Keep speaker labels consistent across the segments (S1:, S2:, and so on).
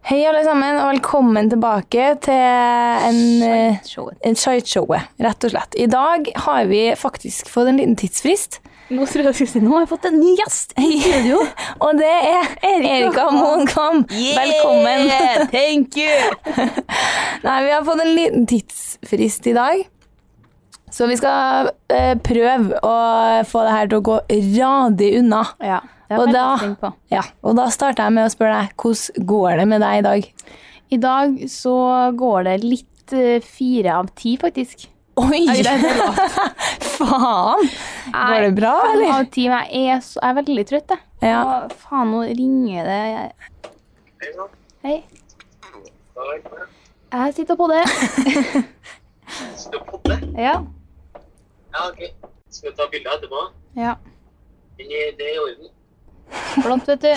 S1: Hei, alle sammen, og velkommen tilbake til en, eh,
S2: Showet.
S1: en Shiteshowet, rett og slett. I dag har vi faktisk fått en liten tidsfrist,
S2: Nå tror jeg jeg skulle si Nå har jeg fått en ny gjest i studio.
S1: og det er Erika Moen Kvam. Velkommen.
S2: Thank you!
S1: Nei, vi har fått en liten tidsfrist i dag. Så vi skal eh, prøve å få det her til å gå radig unna.
S2: Ja, det
S1: Og
S2: er
S1: da-
S2: veldig på.
S1: Ja, og da starter jeg med å spørre deg, hvordan går det med deg i dag?
S2: I dag så går det litt eh, fire av ti, faktisk.
S1: Oi,
S2: Nei, det er lavt.
S1: faen! Går det bra,
S2: Fem
S1: eller?
S2: av ti, men jeg er, så, jeg er veldig trøtt, jeg.
S1: Ja.
S2: Å, faen, nå ringer det Hei.
S3: Ja,
S2: Jeg sitter på det. Ja.
S3: ok. Skal vi ta bilde etterpå?
S2: ja.
S3: Det det er i orden.
S2: Flott, vet du.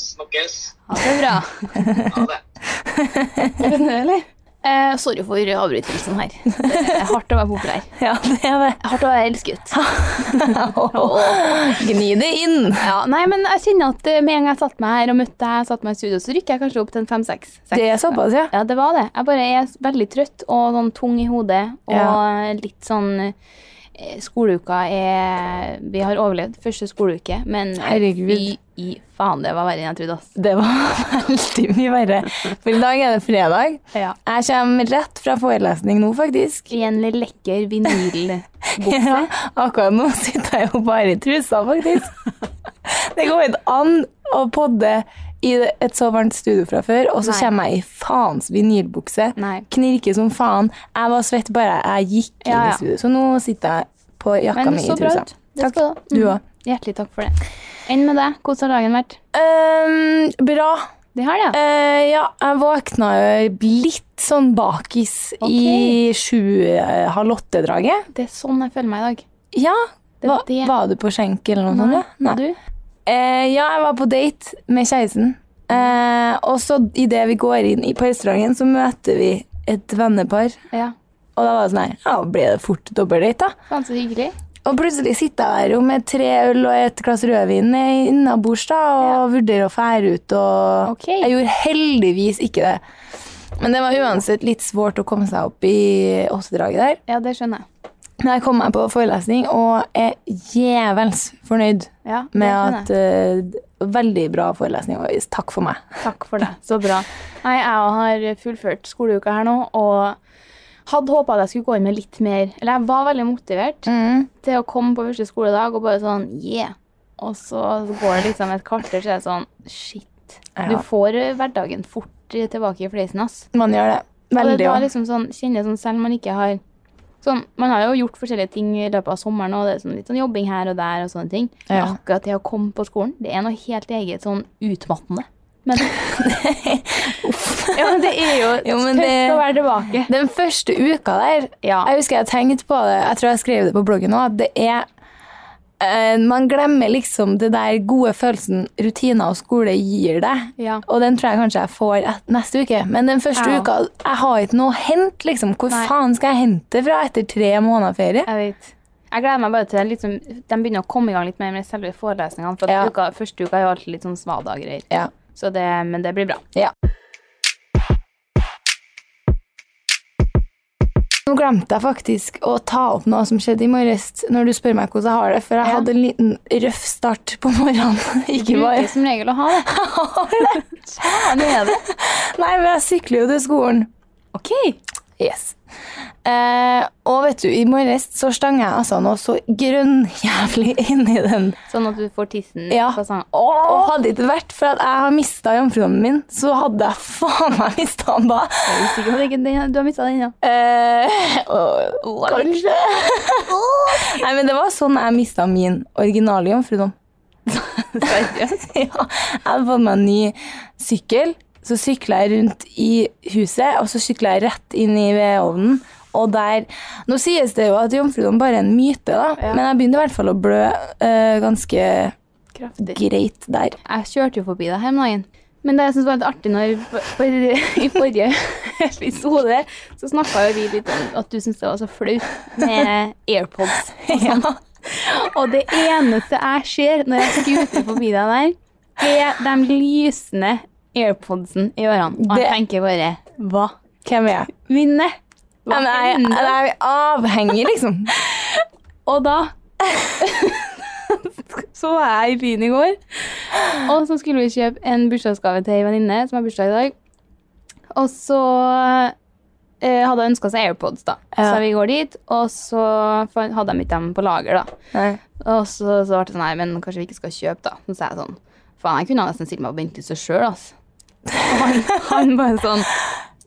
S3: Snakkes.
S2: Ha det bra.
S3: Ha det.
S2: Eh, sorry for avbrytelsen her. Det er hardt å være populær.
S1: ja, det er det.
S2: Hardt å være elsket.
S1: Gni det inn.
S2: Ja, nei, men jeg kjenner at eh, med en gang jeg satt meg her og møtte deg, satt meg i studio, så rykker jeg kanskje opp til en fem-seks.
S1: Det er såpass, ja.
S2: Ja, det var det. Jeg bare er veldig trøtt og sånn tung i hodet, og
S1: Ja.
S2: litt sånn eh, Skoleuka er Vi har overlevd første skoleuke, men
S1: Herregud.
S2: fy i faen, det var verre enn jeg trodde, ass.
S1: Det var veldig mye verre. For i dag er det fredag.
S2: Ja.
S1: Jeg kommer rett fra forelesning nå, faktisk.
S2: I en lekker vinylbukse.
S1: Ja, akkurat nå sitter jeg jo bare i trusa, faktisk. Det går ikke an å podde i et så varmt studio fra før, og så
S2: Nei.
S1: kommer jeg i faens vinylbukse.
S2: Nei.
S1: Knirker som faen. Jeg var svett bare jeg gikk inn
S2: Ja,
S1: i
S2: ja.
S1: studio. Så nå sitter jeg på jakka
S2: Men
S1: mi i
S2: så bra
S1: trusa.
S2: ut. Det skal du ha.
S1: Du
S2: Mm.
S1: òg.
S2: Hjertelig takk for det. Enn med deg? Hvordan har dagen vært?
S1: Um, bra.
S2: Det har det, ja.
S1: Eh, ja, jeg våkna jo litt sånn bakis
S2: Ok.
S1: i sju, eh, halv åtte-draget.
S2: Det er sånn jeg føler meg i dag.
S1: Ja,
S2: Det
S1: hva,
S2: er det.
S1: var du på skjenk eller noe sånt? ja?
S2: Nei. Du?
S1: Eh, ja, jeg var på date med kjæresten. Eh, og så idet vi går inn i- på restauranten, så møter vi et vennepar.
S2: Ja.
S1: Og da var det sånn her, ja, ble det fort dobbeldate, da.
S2: Faen, så hyggelig.
S1: Og plutselig sitter jeg her jo med tre øl og et glass rødvin innabords da, og vurderer å fære ut og
S2: Ok.
S1: Jeg gjorde heldigvis ikke det. Men det var uansett litt svårt å komme seg opp i åttedraget der.
S2: Ja, det skjønner jeg.
S1: Men jeg kom meg på forelesning og er jævels fornøyd
S2: Ja, det
S1: med
S2: skjønner
S1: at
S2: jeg.
S1: eh, Veldig bra forelesning, og takk for meg.
S2: Takk for det. Så bra. Nei, jeg har fullført skoleuka her nå, og hadde håpa at jeg skulle gå inn med litt mer Eller jeg var veldig motivert til å komme på første skoledag og bare sånn yeah. Og så går det liksom et kvarter, så er det sånn shit. Du
S1: Ja,
S2: får eh, hverdagen fort eh, tilbake i fleisen, ass.
S1: man gjør det.
S2: Og det
S1: Veldig
S2: da
S1: òg.
S2: liksom sånn, kjenner jeg sånn, selv om man ikke har sånn, Man har jo gjort forskjellige ting i løpet av sommeren, og det er sånn, litt sånn jobbing her og der og sånne ting. Men
S1: Ja.
S2: akkurat det å komme på skolen, det er noe helt eget sånn utmattende. Men, ja, men det er jo,
S1: Jo, men
S2: tøft
S1: det-
S2: å være tilbake.
S1: Den første uka der
S2: Ja.
S1: Jeg husker jeg tenkte på det, jeg tror jeg skrev det på bloggen òg, at det er eh, Man glemmer liksom det der gode følelsen rutiner og skole gir deg.
S2: Ja.
S1: Og den tror jeg kanskje jeg får et, neste uke. Men den første
S2: Ja.
S1: uka Jeg har ikke noe å hente, liksom. Hvor
S2: Nei.
S1: faen skal jeg hente det fra etter tre måneder ferie?
S2: Jeg vet. Jeg gleder meg bare til liksom, de begynner å komme i gang litt mer med selve forelesningene. For at
S1: Ja.
S2: uka, første uka er jo alltid litt sånn svadaggreier.
S1: Ja.
S2: Så det, men det blir bra.
S1: ja. Nå glemte jeg faktisk å ta opp noe som skjedde i morges, når du spør meg hvordan jeg har det, for jeg
S2: Ja.
S1: hadde en liten røff start på morgenen.
S2: Du
S1: Ikke bare
S2: bruker som regel å ha det. Faen, er det?
S1: Nei, men jeg sykler jo til skolen.
S2: OK.
S1: Yes. Eh, og vet du, i morges så stanga jeg altså noe så grønnjævlig inni den.
S2: Sånn at du får tissen sånn,
S1: Ja.
S2: på sangen.
S1: Og hadde det ikke vært for at jeg har mista jomfrudommen min, så hadde jeg faen meg mista den da.
S2: Jeg er usikker på hvilken den- Du har mista den, ja.
S1: Eh, og, kanskje. Nei, men det var sånn jeg mista min originale jomfrudom.
S2: Seriøst?
S1: ja, jeg hadde fått meg en ny sykkel. Så sykla jeg rundt i huset, og så sykla jeg rett inn i vedovnen. Og der Nå sies det jo at jomfrudom bare er en myte, da,
S2: Ja.
S1: men jeg begynte i hvert fall å blø eh, ganske
S2: Kraftig.
S1: greit der.
S2: Jeg kjørte jo forbi deg her om dagen. Men det jeg synes var litt artig når for, for, I forrige episode så snakka jo vi litt om at du syntes det var så flaut med AirPods. sånn.
S1: Ja.
S2: Og det eneste jeg ser når jeg skuter forbi deg der, er de lysende airpodsen i ørene, og
S1: Det-
S2: jeg tenker bare Hva?
S1: Hvem er jeg?
S2: Vinne! Hva
S1: Jeg, jeg,
S2: hender?
S1: jeg er avhengig, liksom.
S2: Og da så var jeg i byen i går, og så skulle vi kjøpe en bursdagsgave til ei venninne som har bursdag i dag. Og så eh, hadde hun ønska seg AirPods, da.
S1: Ja.
S2: Så vi går dit, og så fan- hadde de ikke dem på lager, da.
S1: Nei.
S2: Og så, så ble det sånn Nei, men kanskje vi ikke skal kjøpe, da. Så sa jeg sånn Faen, jeg kunne nesten stilt meg på Bentehuset sjøl, altså. Og han, han bare sånn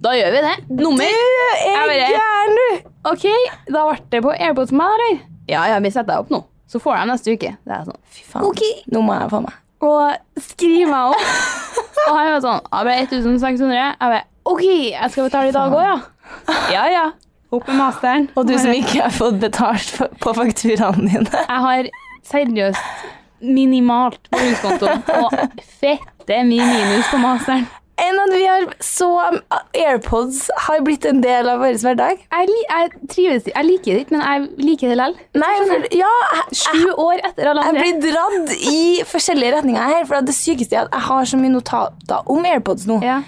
S2: Da gjør vi det. Nummer.
S1: Jeg
S2: bare-
S1: er gæren, du!
S2: Ok, da ble det på AirPods med meg, eller? Ja, ja, vi setter deg opp nå. Så får jeg dem neste uke. Det er sånn,
S1: Fy faen. Nå må jeg få meg.
S2: Og skriv meg opp. og han var sånn, jeg ble 1600. Jeg bare, ok, jeg skal betale i dag også, ja. Ja, ja. Opp med masteren.
S1: Og du som ikke har fått betalt for- på fakturaene dine.
S2: Jeg har seriøst minimalt på huskontoen, og fette min minus på masteren.
S1: Enn at vi har så eh, AirPods har blitt en del av vår hverdag.
S2: Jeg, li- jeg trives, jeg liker det ikke, men jeg liker det likevel.
S1: Nei, for, ja, jeg,
S2: Sju år etter alle
S1: jeg
S2: andre.
S1: blir dradd i forskjellige retninger her. For det sykeste er at jeg har så mye notater om AirPods nå.
S2: Ja.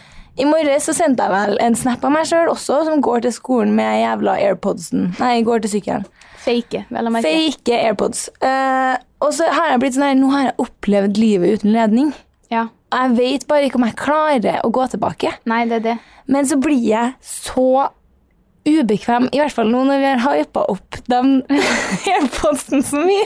S1: I morges så sendte jeg vel en snap av meg sjøl også, som går til skolen med jævla AirPodsen. Nei, går til sykkelen.
S2: Fake, vel å merke.
S1: Fake AirPods. Eh, og så har jeg blitt sånn her, nå har jeg opplevd livet uten ledning.
S2: Ja.
S1: Og jeg vet bare ikke om jeg klarer å gå tilbake.
S2: Nei, det er det.
S1: Men så blir jeg så ubekvem, i hvert fall nå når vi har hypa opp den AirPodsen så mye.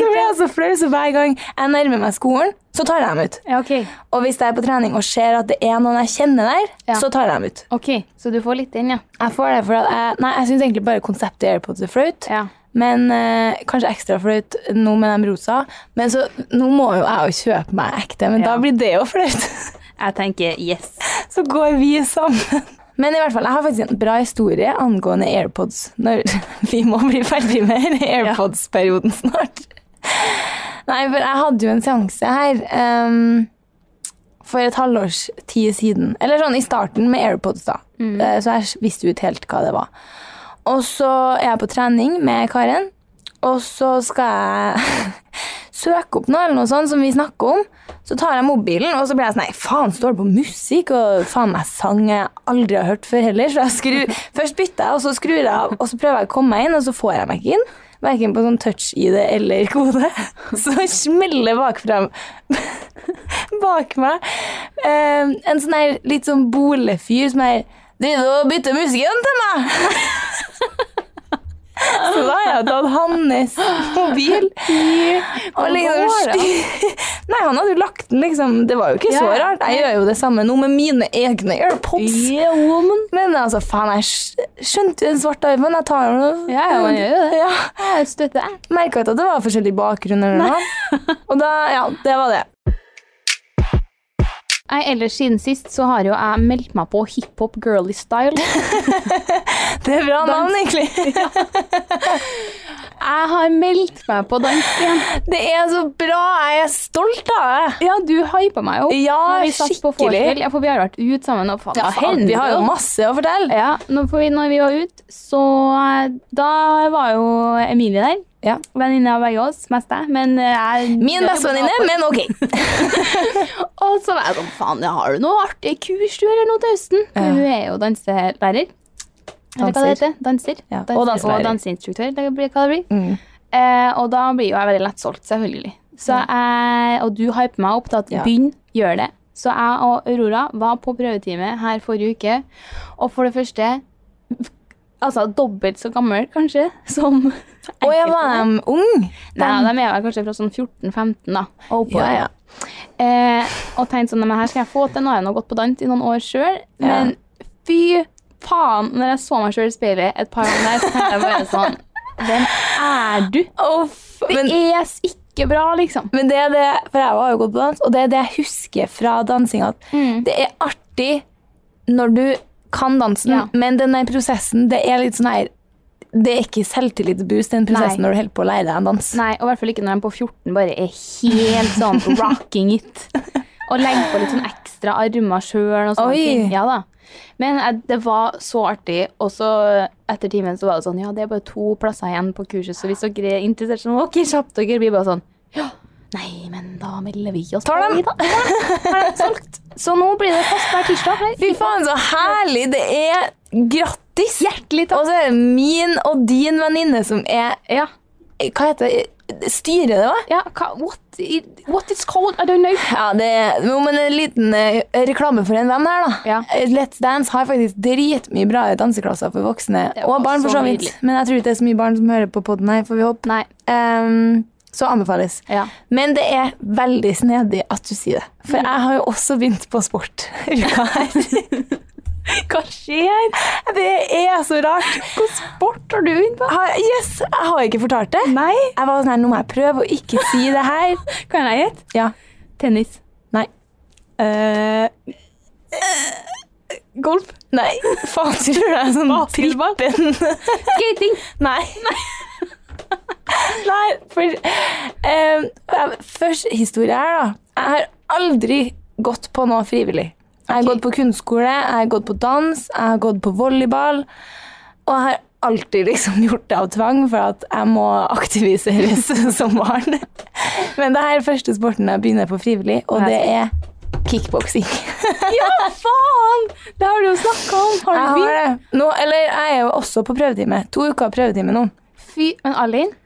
S1: Så blir jeg så flau, så hver gang jeg nærmer meg skolen, så tar jeg dem ut.
S2: Ja, ok.
S1: Og hvis jeg er på trening og ser at det er noen jeg kjenner der,
S2: Ja.
S1: så tar jeg dem ut.
S2: Ok, så du får litt inn, ja.
S1: Jeg får det for at jeg, nei, jeg syns egentlig bare konseptet AirPods er flaut.
S2: ja.
S1: Men eh, kanskje ekstra flaut nå med de rosa. Men så, nå må jo jeg jo kjøpe meg ekte, men
S2: Ja.
S1: da blir det jo flaut.
S2: Jeg tenker yes.
S1: Så går vi sammen. Men i hvert fall, jeg har faktisk en bra historie angående AirPods. Når vi må bli ferdig med denne AirPods-perioden snart. Nei, for jeg hadde jo en seanse her ehm, for et halvårs tid siden. Eller sånn i starten med AirPods, da. Eh, Så jeg visste jo ikke helt hva det var. Og så er jeg på trening med Karen, og så skal jeg søke opp noe eller noe sånt som vi snakker om. Så tar jeg mobilen, og så blir jeg sånn Nei, faen, står det på musikk? Og faen meg sang jeg aldri har hørt før heller. Så jeg skrur, først bytter jeg, og så skrur jeg av, og så prøver jeg å komme meg inn, og så får jeg meg ikke inn. Verken på sånn touch-ID eller kode. Så smeller bakfra bak meg eh, en sånn her litt sånn bolefyr som er Driver du og bytter musikken til meg? Så da har jeg tatt hans mobil. Og liksom
S2: går det an?
S1: styr... Nei, han hadde jo lagt den, liksom. Det var jo ikke så
S2: Ja, ja.
S1: rart. Jeg gjør jo det samme nå med mine egne AirPods.
S2: woman.
S1: Men altså, faen, jeg skj- skjønte jo en svart armen. Jeg tar den
S2: Ja, ja, man gjør jo det.
S1: Ja.
S2: Jeg støtter deg.
S1: Merka ikke at det var forskjellig bakgrunn eller noe. Og da, ja, det var det.
S2: Nei, ellers siden sist så har jo jeg meldt meg på hiphop girly style.
S1: Det er bra navn, egentlig.
S2: Jeg har meldt meg på dans igjen.
S1: Det er så bra. Jeg er stolt av det.
S2: Ja, du hypa meg opp.
S1: Ja,
S2: Når vi satt på vorspiel.
S1: skikkelig.
S2: Ja, for vi har vært ute sammen. Og faen, altså.
S1: Ja, Eh,
S2: hva
S1: faen, vi
S2: hender
S1: har jo
S2: det?
S1: masse å fortelle.
S2: Ja, når vi, når vi var ute, så eh, Da var jo Emilie der.
S1: Ja.
S2: Venninne av begge oss, mest jeg. Men eh, jeg
S1: Min bestevenninne, men ok.
S2: Og så var jeg sånn, faen, ja, har du noe artig kurs du eller noe til høsten?
S1: Ja.
S2: Men Hun er jo danselærer. Eller hva det
S1: Danser.
S2: heter? Danser.
S1: Ja, og
S2: Danser
S1: danselærer.
S2: Og danseinstruktør, eller hva det blir. Eh, og da blir jo jeg veldig lett solgt, selvfølgelig. Så jeg, og du hyper meg opp til at
S1: Ja.
S2: begynn, gjør det. Så jeg og Aurora var på prøvetime her forrige uke, og for det første Altså dobbelt så gammel, kanskje, som
S1: Og jeg var um, ung.
S2: Nei, de er vel kanskje fra sånn 14-15, da. Og oppover.
S1: Ja, ja.
S2: Eh, og tenkte sånn, men her skal jeg få til, nå har jeg nå gått på dans i noen år sjøl. Men fy faen, når jeg så meg sjøl i speilet et par ganger der, så tenkte jeg bare sånn Hvem er du?
S1: Uff,
S2: Det
S1: men,
S2: er s- ikke bra, liksom.
S1: men det er det, for jeg har jo gått på dans, og det er det jeg husker fra dansing, at
S2: Mm.
S1: det er artig når du kan dansen,
S2: Ja.
S1: men den der prosessen, det er litt sånn her, det er ikke selvtillitsboost, den prosessen
S2: Nei.
S1: når du holder på å lære deg en dans.
S2: Nei, og i hvert fall ikke når de på 14 bare er helt sånn rocking it. Og legger på litt sånn ekstra armer sjøl og sånne
S1: Oi.
S2: ting. Ja da. Men jeg, det var så artig. Og så eh, etter timen så var det sånn Ja, det er bare to plasser igjen på kurset, så hvis dere er interessert, så må dere kjappe dere. Vi bare sånn Ja, Nei, men da melder vi oss
S1: Tar
S2: på,
S1: dem.
S2: vi da. Tar dem. Solgt. Så nå blir det fast hver tirsdag. Nei,
S1: Fy faen, så herlig! Det er grattis!
S2: Hjertelig takk.
S1: Og så er det min og din venninne som er
S2: Ja.
S1: Hva heter det? Styrer det, hva?
S2: ja hva, what, i- what it's called, I don't know.
S1: Ja, det er jo, men en liten eh, reklame for en venn her, da.
S2: Ja.
S1: Eh, Let's Dance har faktisk dritmye bra danseklasser for voksne
S2: Det var
S1: og barn, for
S2: så
S1: så vidt.
S2: nydelig.
S1: Men jeg tror ikke det er så mye barn som hører på podden her, får vi håpe.
S2: Nei.
S1: Ehm, så anbefales.
S2: Ja.
S1: Men det er veldig snedig at du sier det. For
S2: Mm.
S1: jeg har jo også begynt på sport uka her.
S2: Hva skjer?
S1: Det er så rart.
S2: Hvilken sport har du begynt på?
S1: Har, yes, jeg har ikke fortalt det.
S2: Nei.
S1: Jeg var sånn her, nå må jeg prøve å ikke si det her.
S2: Kan jeg gjette?
S1: Ja.
S2: Tennis.
S1: Nei.
S2: golf.
S1: Eh, Nei, faen tror du det er sånn
S2: Basketball?
S1: trippen?
S2: Skating.
S1: Nei. Nei, for eh, jeg- Først historie her, da. Jeg har aldri gått på noe frivillig. Jeg har
S2: Ok.
S1: gått på kunstskole, jeg har gått på dans, jeg har gått på volleyball. Og jeg har alltid liksom gjort det av tvang, for at jeg må aktiviseres som barn. Men det her er første sporten jeg begynner på frivillig, og det er kickboksing.
S2: Ja, faen! Det har du jo snakka om.
S1: Jeg
S2: Har du
S1: har det. Nå, eller jeg er jo også på prøvetime. To uker prøvetime nå.
S2: Fy, men alene?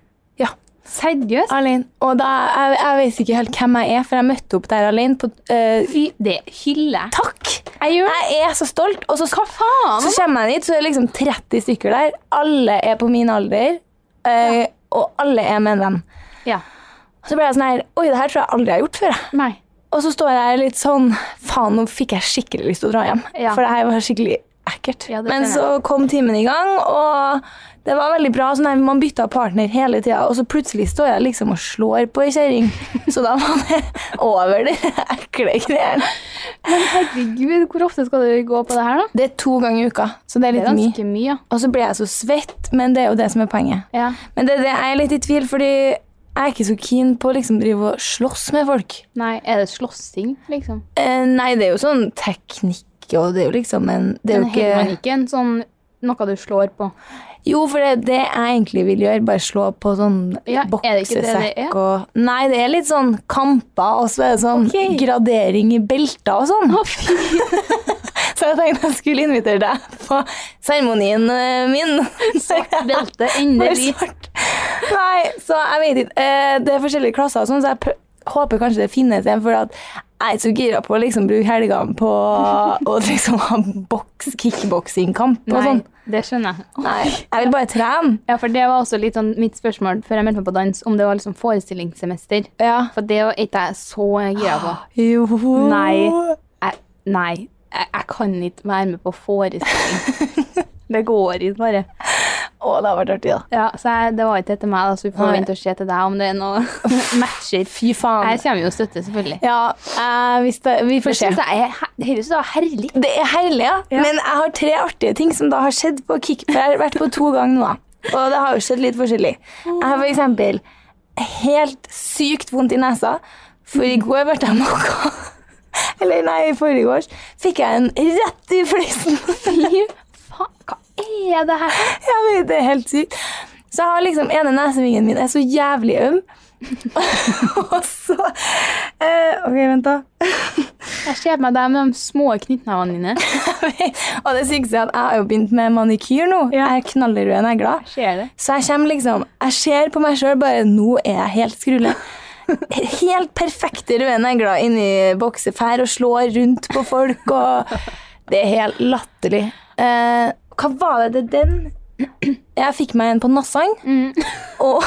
S1: Ja.
S2: Seriøst?
S1: Alene. Og da, jeg, jeg vet ikke helt hvem jeg er, for jeg møtte opp der alene. På, eh,
S2: Fy, det hyller jeg.
S1: takk!
S2: Jeg gjør det.
S1: Jeg er så stolt. Og så,
S2: Hva faen?
S1: så kommer jeg dit, så er det liksom 30 stykker der. Alle er på min alder, eh, og alle er med en venn.
S2: Ja.
S1: Og så ble jeg sånn her Oi, det her tror jeg aldri jeg har gjort før. jeg.
S2: Nei.
S1: Og så står jeg der litt sånn Faen, nå fikk jeg skikkelig lyst til å dra hjem.
S2: Ja.
S1: For det her var skikkelig ekkelt.
S2: Ja, det
S1: Men
S2: skjønner
S1: så kom timen i gang, og det var veldig bra. Sånn her, man bytta partner hele tida, og så plutselig står jeg liksom og slår på ei kjerring. Så da var det over de ekle greiene.
S2: Men herregud, hvor ofte skal du gå på det her, da?
S1: Det er to ganger i uka, så det er
S2: Det er
S1: litt mye.
S2: ganske mye,
S1: Og så blir jeg så svett, men det er jo det som er poenget.
S2: ja.
S1: Men det, er det, jeg er litt i tvil, fordi jeg er ikke så keen på å liksom drive og slåss med folk.
S2: Nei, er det slåssing, liksom?
S1: Eh, nei, det er jo sånn teknikk, og det er jo liksom en Det er
S2: Men
S1: jo ikke
S2: heller man ikke en sånn noe du slår på?
S1: Jo, for det er det jeg egentlig vil gjøre. Bare slå på sånn
S2: Ja, er det ikke det det er?
S1: boksesekk og Nei, det er litt sånn kamper, og så er det sånn
S2: Ok.
S1: gradering i belter og sånn.
S2: Å, fy.
S1: Så jeg tenkte jeg skulle invitere deg på seremonien eh, min.
S2: Svart belte,
S1: Bare
S2: endelig.
S1: svart. Nei, så jeg vet ikke. Eh, Det er forskjellige klasser og sånn, så jeg prø- håper kanskje det finnes en, for at jeg er så gira på å liksom bruke helgene på å liksom ha boks, kickboksingkamp og
S2: Nei,
S1: sånn.
S2: det skjønner jeg.
S1: Nei, jeg vil bare trene.
S2: Ja, for det var også litt sånn mitt spørsmål før jeg meldte meg på dans, om det var liksom forestillingssemester.
S1: Ja.
S2: For det var ikke jeg så gira på.
S1: Jo.
S2: Nei. Jeg, nei, jeg, jeg kan ikke være med på forestilling. det går ikke bare.
S1: Å, det har vært artig, da.
S2: Ja, så jeg, det var ikke etter meg, da, så vi får
S1: Nei.
S2: vente og se til deg om det er noe matcher.
S1: Fy
S2: Jeg
S1: faen.
S2: kommer jo og støtter, selvfølgelig.
S1: Ja, eh, hvis det, vi
S2: Det
S1: får se.
S2: synes jeg er, her- det høres ut som herlig.
S1: Det er herlig, ja.
S2: Ja.
S1: Men jeg har tre artige ting som da har skjedd på kick. For jeg har vært på to ganger nå, da. Og det har jo skjedd litt forskjellig. Jeg har for eksempel helt sykt vondt i nesa, for i går ble jeg mokka. Eller nei, i forrige års fikk jeg en rett i fleisen.
S2: Fy faen, hva er det her?
S1: Jeg vet, det er helt sykt. Så jeg har liksom, ene nesevingen min er så jævlig øm. og så eh, Ok, vent, da.
S2: Jeg ser på meg deg med de små knyttnevene dine.
S1: og det sykeste er at jeg har jo begynt med manikyr nå.
S2: Ja.
S1: Jeg er knallrød negler.
S2: Ser det?
S1: Så jeg kommer liksom Jeg ser på meg sjøl bare Nå er jeg helt skrulle. Helt perfekte røde negler inni boksefær og slår rundt på folk og Det er helt latterlig. Eh, hva var det det den Jeg fikk meg en på Nassang, og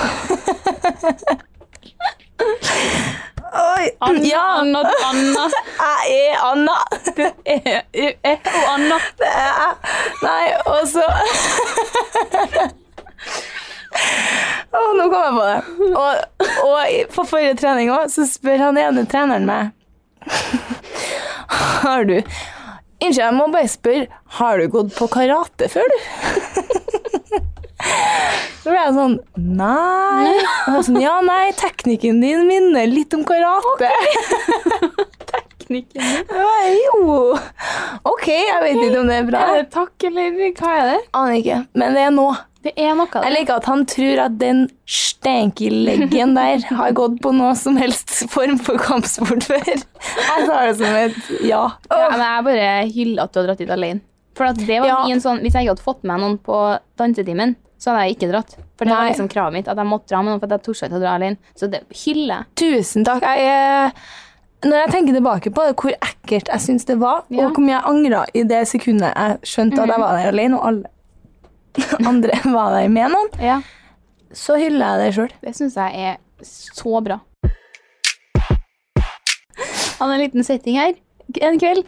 S1: Oi. Ja,
S2: Anna, Anna,
S1: jeg er Anna. Det er
S2: E, og Anna.
S1: det er jeg. Nei, og så Å, nå kom jeg på det. Og, og i- på forrige trening òg, så spør han ene treneren meg Har du Unnskyld, jeg må bare spørre. Har du gått på karate før, du? Så ble jeg sånn Nei. Og jeg sånn, ja, nei, teknikken din minner litt om karate.
S2: Teknikken
S1: Jeg bare, Jo. OK, jeg vet ikke om det er bra.
S2: Er det takk, eller hva er det?
S1: Aner ikke, men det er nå.
S2: Det er noe
S1: Jeg
S2: der.
S1: liker at han tror at den stenkeleggen der har gått på noe som helst form for kampsport før. Jeg tar det som et ja.
S2: Ja, men jeg bare hyller at du har dratt dit alene. For at det var
S1: Ja.
S2: min sånn, Hvis jeg ikke hadde fått med noen på dansetimen, så hadde jeg ikke dratt. For det var
S1: Nei.
S2: liksom kravet mitt, at jeg måtte dra med noen for at jeg torde ikke å dra alene. Så det hyller jeg.
S1: Tusen takk. Jeg, eh, når jeg tenker tilbake på det, hvor ekkelt jeg syns det var,
S2: Ja.
S1: og hvor mye jeg angra i det sekundet jeg skjønte at jeg var der alene, og alle andre var der med noen,
S2: Ja,
S1: så hyller jeg det sjøl.
S2: det syns jeg er så bra. Han har en liten setting her en kveld.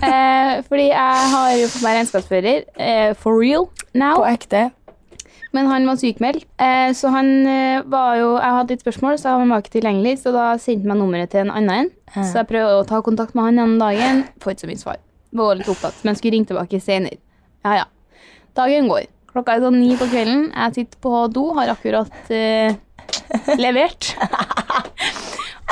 S2: Eh, fordi jeg har jo fått meg regnskapsfører. Eh, for real now.
S1: På ekte.
S2: Men han var sykmeldt, eh, så han eh, var jo Jeg hadde litt spørsmål, så han var ikke tilgjengelig, så da sendte han meg nummeret til en annen. en. Så jeg prøvde å ta kontakt med han den dagen. Får ikke så mye svar. Var litt opptatt, men skulle ringe tilbake senere. Ja, ja. Dagen går. Klokka er sånn ni på kvelden. Jeg sitter på do, har akkurat eh, levert.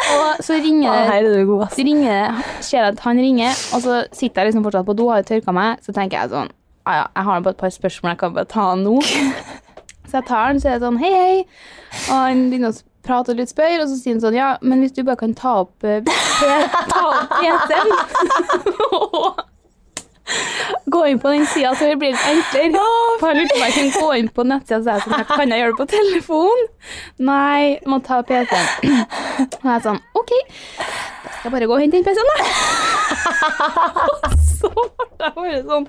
S2: Og så
S1: Ja,
S2: ringer det
S1: her er du god, ass.
S2: så ringer det, ser jeg at han ringer, og så sitter jeg liksom fortsatt på do, har jo tørka meg, så tenker jeg sånn, ah ja, jeg har bare et par spørsmål jeg kan bare ta nå. Så jeg tar den, så er det sånn, hei, hei, og han begynner å prate og litt spør, og så sier han sånn, ja, men hvis du bare kan ta opp, eh, P- ta opp PC-en, gå inn på den siden, så det blir litt enklere. For jeg lurte på om jeg kunne gå inn på nettsida og si sånn, her, kan jeg gjøre det på telefon? Nei, må ta PC-en. Og jeg er sånn, ok, da skal jeg bare gå og hente den PC-en da. Og så ble jeg bare sånn,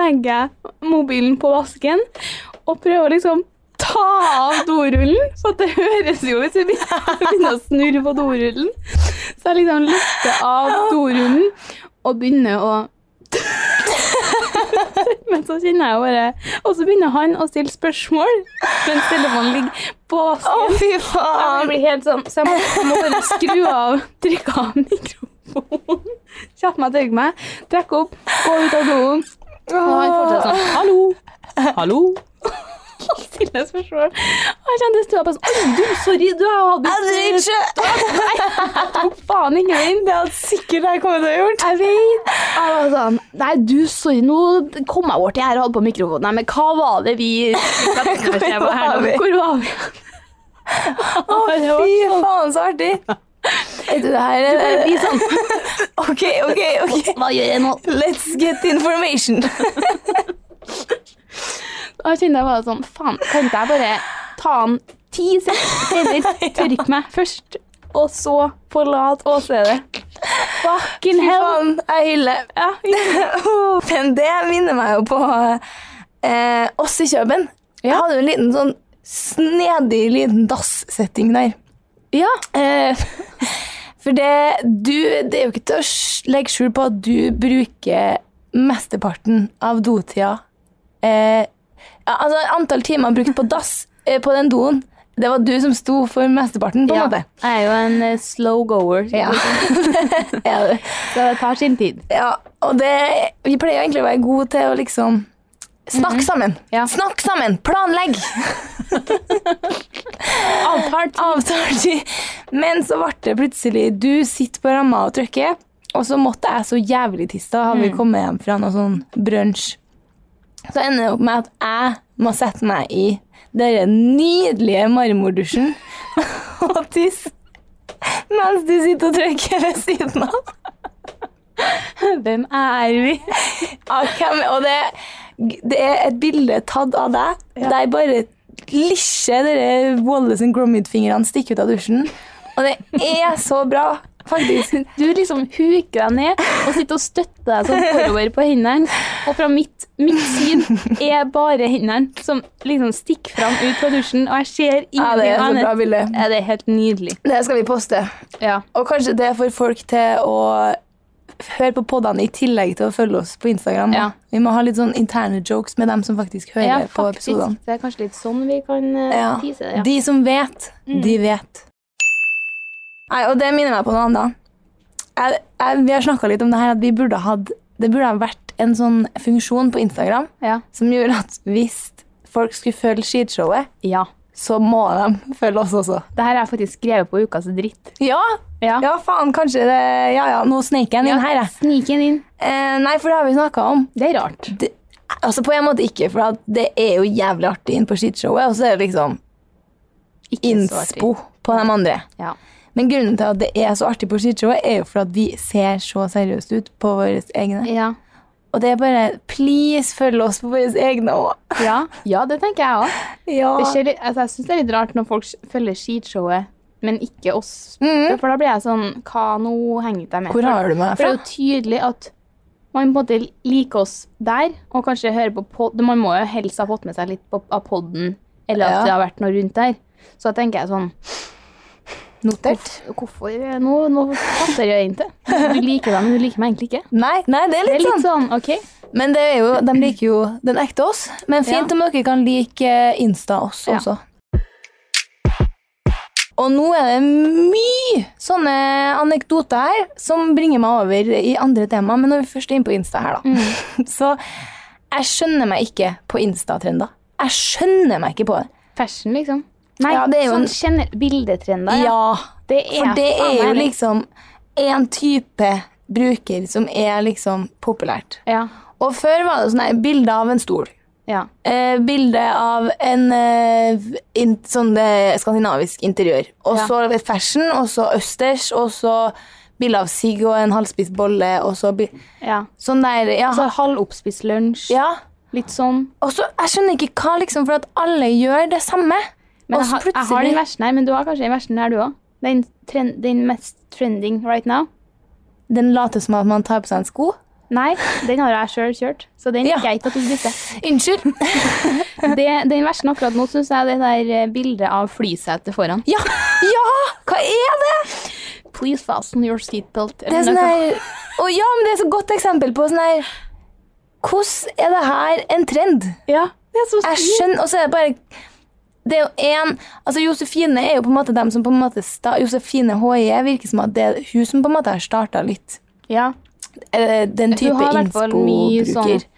S2: legger jeg mobilen på vasken, og prøver å liksom ta av dorullen, for at det høres jo hvis vi begynner begynner å snurre på dorullen. Så jeg liksom løfter av dorullen, og begynner å men så kjenner jeg jo bare Og så begynner han å stille spørsmål mens telefonen ligger på
S1: Å,
S2: vasken.
S1: fy
S2: Jeg
S1: faen!
S2: blir helt sånn Så jeg må, jeg må bare skru av, trykke av mikrofonen, kjappe meg, tørke meg, trekke opp, gå ut av doen. Og han fortsatt sånn Hallo! Hallo! Stille spørsmål. Og jeg kjente stua på sånn «Oi, du, sorry, du har hatt
S1: Jeg driter ikke!
S2: Tok faen ikke inn.
S1: Det hadde sikkert jeg kommet til å gjort.
S2: Jeg vet. Jeg var sånn, Nei, du, sorry, nå kom jeg bort til her og hadde på mikrofonen. Nei, men hva var det vi Hvor
S1: var vi?
S2: Hvor var vi?
S1: Å, fy faen, så artig! Vet du, det her er
S2: Vi sånn,
S1: OK, OK, OK.
S2: Hva gjør jeg nå?
S1: Let's get information.
S2: Og jeg kjente jeg bare sånn, faen, kan ikke jeg bare ta en ti steder, tørke meg først, og så forlate åstedet? Fucking
S1: Fy
S2: hell!
S1: faen, jeg hyller.
S2: Ja,
S1: Men det minner meg jo på eh, oss i Kjøben. Jeg hadde jo en liten sånn snedig liten dass-setting der.
S2: ja.
S1: Eh, for det, du, det er jo ikke til å sj- legge skjul på at du bruker mesteparten av dotida eh, ja, Altså antall timer brukt på dass eh, på den doen, det var du som sto for mesteparten, på en måte.
S2: Jeg er jo en eh, slow goer,
S1: Ja. er du.
S2: så det tar sin tid.
S1: Ja, og det, vi pleier egentlig å være gode til å liksom Snakk sammen!
S2: Mhm. Ja.
S1: Snakk sammen! Planlegg!
S2: Avtalt.
S1: Avtale tid! Men så ble det plutselig Du sitter på ramma og trykker, og så måtte jeg så jævlig tisse. Da hadde
S2: Mm.
S1: vi kommet hjem fra noe sånn brunsj. Så ender det opp med at jeg må sette meg i den nydelige marmordusjen og tisse mens du sitter og trykker ved siden av.
S2: Hvem er vi?
S1: Ah, Ja, hvem, og det, det er et bilde tatt av deg der bare lisjer dere Wallace and Gromit-fingrene stikker ut av dusjen. Og det er så bra, faktisk.
S2: Du liksom huker deg ned og sitter og støtter deg sånn forover på hendene. Og fra mitt, mitt syn er bare hendene som liksom stikker fram ut fra dusjen, og jeg ser
S1: Ja, det
S2: ingenting
S1: er så bra
S2: annet.
S1: bilde.
S2: Ja, det er helt nydelig.
S1: Det skal vi poste.
S2: Ja.
S1: Og kanskje det får folk til å høre på podene i tillegg til å følge oss på Instagram. da.
S2: Ja.
S1: Vi må ha litt sånn interne jokes med dem som faktisk hører på episodene.
S2: Det er kanskje litt sånn vi kan eh,
S1: Ja.
S2: vise det. Ja.
S1: De som vet, de vet. Nei, og det minner meg på noe annet. Jeg, jeg, vi har snakka litt om det her, at vi burde hatt Det burde ha vært en sånn funksjon på Instagram
S2: Ja.
S1: som gjorde at hvis folk skulle følge skishowet,
S2: ja.
S1: så må de følge oss også.
S2: Det her er faktisk skrevet på ukas dritt.
S1: Ja,
S2: Ja.
S1: ja faen, kanskje det Ja ja, nå sneker jeg den inn her, jeg.
S2: Snik den inn.
S1: Eh, nei, for det har vi snakka om.
S2: Det er rart.
S1: Det, Altså På en måte ikke, for at det er jo jævlig artig inn på skishowet, og så er det liksom
S2: Ikke så artig.
S1: innspo på de andre.
S2: Ja.
S1: Men grunnen til at det er så artig på skishowet, er jo for at vi ser så seriøst ut på våre egne.
S2: Ja.
S1: Og det er bare Please, følg oss på våre egne òg.
S2: Ja. ja, det tenker jeg òg.
S1: Ja.
S2: Det skjer litt- altså, jeg syns det er litt rart når folk følger skishowet, men ikke oss.
S1: Mhm.
S2: For da blir jeg sånn Hva nå henger jeg med?
S1: Hvor har du meg
S2: For det
S1: fra?
S2: er jo tydelig at man på en måte liker oss der, og kanskje hører på pod Man må jo helst ha fått med seg litt på, av podden, eller at
S1: Ja.
S2: det har vært noe rundt der. Så da tenker jeg sånn
S1: Notert?
S2: Hvorfor eh, Nå, nå passer jeg inn til. Du liker dem, men du liker meg egentlig ikke.
S1: Nei, nei, det er
S2: Det er
S1: litt sånn.
S2: litt sånn, OK?
S1: Men det er jo, de liker jo den ekte oss. Men fint
S2: Ja.
S1: om dere kan like eh, Insta oss
S2: Ja.
S1: også. Og nå er det mye sånne anekdoter her som bringer meg over i andre tema. Men når vi først er inne på Insta her, da.
S2: Mm.
S1: Så jeg skjønner meg ikke på Insta-trender. Jeg skjønner meg ikke på det.
S2: Fashion, liksom. Nei,
S1: Ja, det er jo
S2: sånn
S1: en-
S2: kjenner bildetrender.
S1: Ja,
S2: Det er,
S1: for det
S2: faen
S1: er jo
S2: meg det.
S1: liksom én type bruker som er liksom populært.
S2: Ja.
S1: Og før var det sånn her bilde av en stol.
S2: ja.
S1: eh, bilde av en eh, in, sånn eh, skandinavisk interiør. Og
S2: Ja.
S1: så fashion, og så østers, og så bilde av sigg og en halvspist bolle, og så bi
S2: ja.
S1: Sånn der, ja.
S2: Så halvoppspist lunsj.
S1: ja.
S2: Litt sånn.
S1: Og så, jeg skjønner ikke hva, liksom, for at alle gjør det samme.
S2: Men
S1: og
S2: jeg,
S1: så
S2: har- jeg har
S1: plutselig
S2: den versen her, men du har kanskje den versen her, du òg? Den, trend- den mest trending right now?
S1: den later som at man tar på seg en sko.
S2: Nei, den har jeg sjøl kjørt, så den
S1: Ja.
S2: liker jeg ikke at du bytter.
S1: Unnskyld.
S2: Det, den versen akkurat nå syns jeg er det der eh, bildet av flysetet foran.
S1: Ja! ja! Hva er det?
S2: Please fasten your seatbelt.
S1: Det er
S2: eller
S1: sånn
S2: noe.
S1: her Å ja, men det er så godt eksempel på sånn her Hvordan er det her en trend?
S2: Ja, det er så
S1: Jeg
S2: sykt.
S1: skjønner, og så er det bare Det er jo en, altså Josefine er jo på en måte dem som på en måte sta, Josefine HIE virker som at det er hun som på en måte har starta litt
S2: Ja.
S1: eh, den type
S2: Hun har i hvert fall mye sånn
S1: innspo-bruker.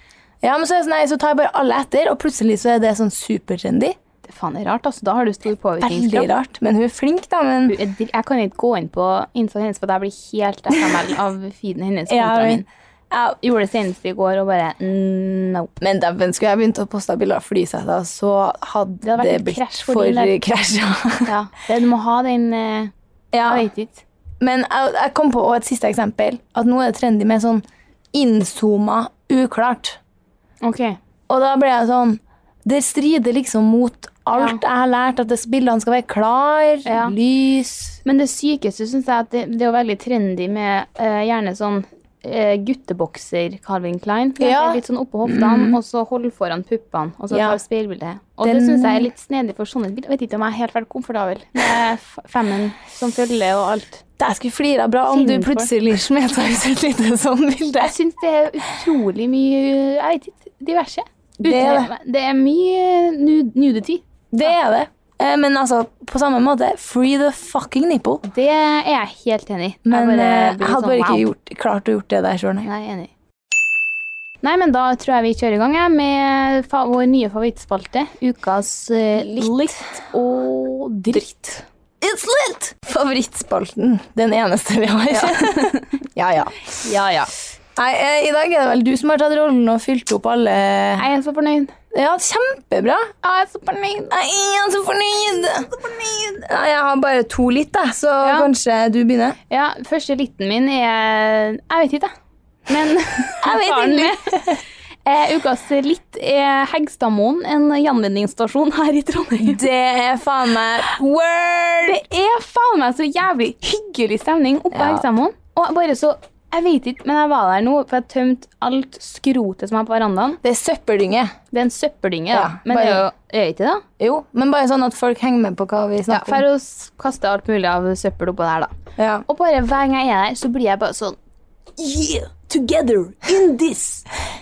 S1: Ja, men så, er det sånn, nei, så tar jeg bare alle etter, og plutselig så er det sånn supertrendy.
S2: Det er faen rart, altså. Da har du stor
S1: Veldig
S2: påvirkningskraft.
S1: rart. Men hun er flink, da. Men
S2: Du, Jeg dri- jeg kan ikke gå inn på Instaen hennes, for jeg blir helt FML av feeden hennes.
S1: Ja,
S2: kontra
S1: men-
S2: min. Jeg gjorde det senest i går og bare mm, no.
S1: Men dæven, skulle jeg begynt å poste bilder av flyseter, så hadde
S2: Det
S1: det,
S2: hadde vært et
S1: blitt
S2: krasj for
S1: for
S2: din del.
S1: krasj. ja.
S2: Ja. Det, du må ha den eh,
S1: ja.
S2: Jeg vet ikke.
S1: Men jeg, jeg kom på også et siste eksempel. At nå er det trendy med sånn innzooma uklart.
S2: OK.
S1: Og da ble jeg sånn Det strider liksom mot alt jeg har lært, at det, bildene skal være klar,
S2: Ja.
S1: lys
S2: Men det sykeste syns jeg er at det, det er jo veldig trendy med eh, gjerne sånn eh, guttebokser Calvin Klein. for
S1: Ja. Mm.
S2: det er Litt sånn oppå hoftene, og så holde foran puppene, og så
S1: Ja.
S2: ta speilbildet. Og det
S1: Den-
S2: syns jeg er litt snedig for sånne bilder. Jeg vet ikke om jeg er helt veldig komfortabel med f- femmen som følger og alt.
S1: Det skulle flira bra om du
S2: Finnenfor.
S1: plutselig smeta ut et lite sånn bilde.
S2: Jeg syns det er utrolig mye Jeg vet ikke. Diverse.
S1: Det er
S2: Uten- det er mye nu- nudity.
S1: Det er det. Eh, Men altså, på samme måte, free the fucking nipple.
S2: Det er jeg helt enig i. Jeg
S1: Men
S2: bare
S1: eh, jeg
S2: blir
S1: hadde
S2: sånn,
S1: bare
S2: wow.
S1: ikke gjort, klart å gjort det der sjøl, nei.
S2: Nei, jeg er enig. Nei, men da tror jeg vi kjører i gang jeg, med fa vår nye favorittspalte. Ukas eh, litt. og dritt.
S1: It's lit! Favorittspalten. Den eneste vi har. ja, ja.
S2: Ja, ja.
S1: Nei, eh, I dag er det vel du som har tatt rollen og fylt opp alle
S2: Jeg er så fornøyd.
S1: Ja, kjempebra.
S2: Jeg er så fornøyd.
S1: Nei, Jeg er så fornøyd. Nei, jeg har bare to litt, da, så
S2: Ja.
S1: kanskje du begynner.
S2: Ja, første liten min er Jeg vet ikke, jeg. Men
S1: vet
S2: tar den med. Eh, ukas litt er Hegstadmoen, en gjenvinningsstasjon her i Trondheim.
S1: Det er faen meg word!
S2: Det er faen meg så jævlig hyggelig stemning oppe på
S1: Ja.
S2: Hegstadmoen. Og bare så Jeg vet ikke, men jeg var der nå, for jeg tømte alt skrotet som er på verandaen.
S1: Det er søppeldynge.
S2: Det er en søppeldynge,
S1: Ja,
S2: da. Men det er jo
S1: bare-
S2: er det ikke det?
S1: Jo, men bare sånn at folk henger med på hva vi
S2: Ja,
S1: snakker
S2: for å s- kaste alt mulig av søppel oppå der, da.
S1: om. Ja.
S2: Og bare hver gang jeg er der, så blir jeg bare sånn
S4: yeah, together in this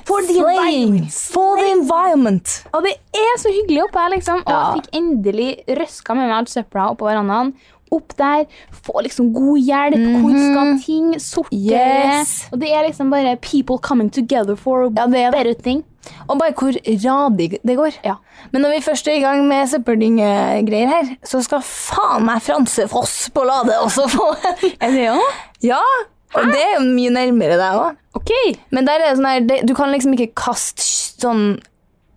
S4: for the
S1: Slaying
S4: environment.
S1: for the environment.
S2: Og det er så hyggelig oppå her, liksom. Og jeg fikk endelig røska med meg alt søpla oppå verandaen. Opp der, få liksom god hjelp, hvor skal ting, sortere
S1: Yes.
S2: Og det er liksom bare people coming together for
S1: Ja, det er det.
S2: better thing.
S1: Og bare hvor radig det går.
S2: Ja.
S1: Men når vi først er i gang med søppeldyngegreier her, så skal faen meg Franse Foss på Lade også få en.
S2: Er det jo?
S1: Ja! Og det er jo mye nærmere deg òg.
S2: OK!
S1: Men der er det sånn her det, Du kan liksom ikke kaste sj- sånn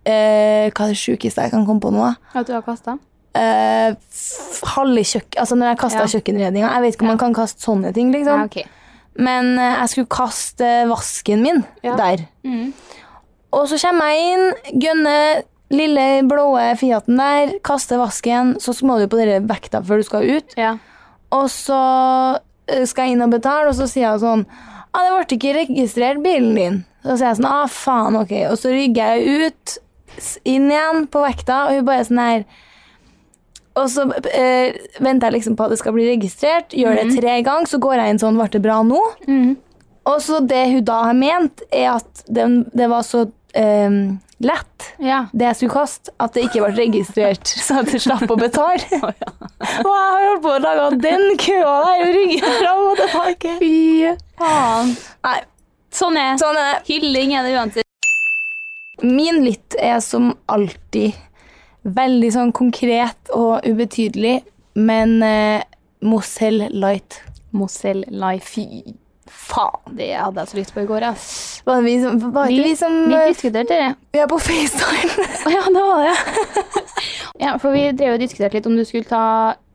S1: eh, Hva er det sjukeste jeg kan komme på nå? da?
S2: At du har kasta?
S1: Eh, f- halve kjøkken Altså når jeg kasta
S2: Ja.
S1: kjøkkenredninga Jeg vet ikke om man kan kaste sånne ting, liksom.
S2: Ja, ok.
S1: Men eh, jeg skulle kaste vasken min
S2: Ja.
S1: der.
S2: Mm.
S1: Og så kommer jeg inn, gønner lille blå Fiaten der, kaster vasken, så må du på dere vekta før du skal ut.
S2: Ja.
S1: Og så eh, skal jeg inn og betale, og så sier jeg sånn ah, 'Det ble ikke registrert bilen din.' Så sier jeg sånn 'Ah, faen, ok.' Og så rygger jeg ut, s- inn igjen på vekta, og hun bare sånn her Og så eh, venter jeg liksom på at det skal bli registrert, gjør det
S2: Mm.
S1: tre ganger, så går jeg inn sånn 'Ble det bra nå?'
S2: Mhm.
S1: Og så det hun da har ment, er at den, det var så eh, lett
S2: ja.
S1: det jeg skulle kaste, at det ikke ble registrert, så at jeg slapp å betale. Og jeg har holdt på å lage den køa der og rygge fram og tilbake.
S2: Fy faen.
S1: Nei,
S2: Sånn er
S1: sånn er det.
S2: Hylling er det uansett.
S1: Min litt er som alltid veldig sånn konkret og ubetydelig, men eh, Mozell Light.
S2: Mozell Life. Fy faen, det hadde jeg så lyst på i går, ass.
S1: Var det vi som, var det
S2: Vi-
S1: vi som
S2: Vi
S1: eh,
S2: diskuterte det.
S1: Vi er på FaceTime.
S2: Å ja, det var det. ja, for vi drev og diskuterte litt om du skulle ta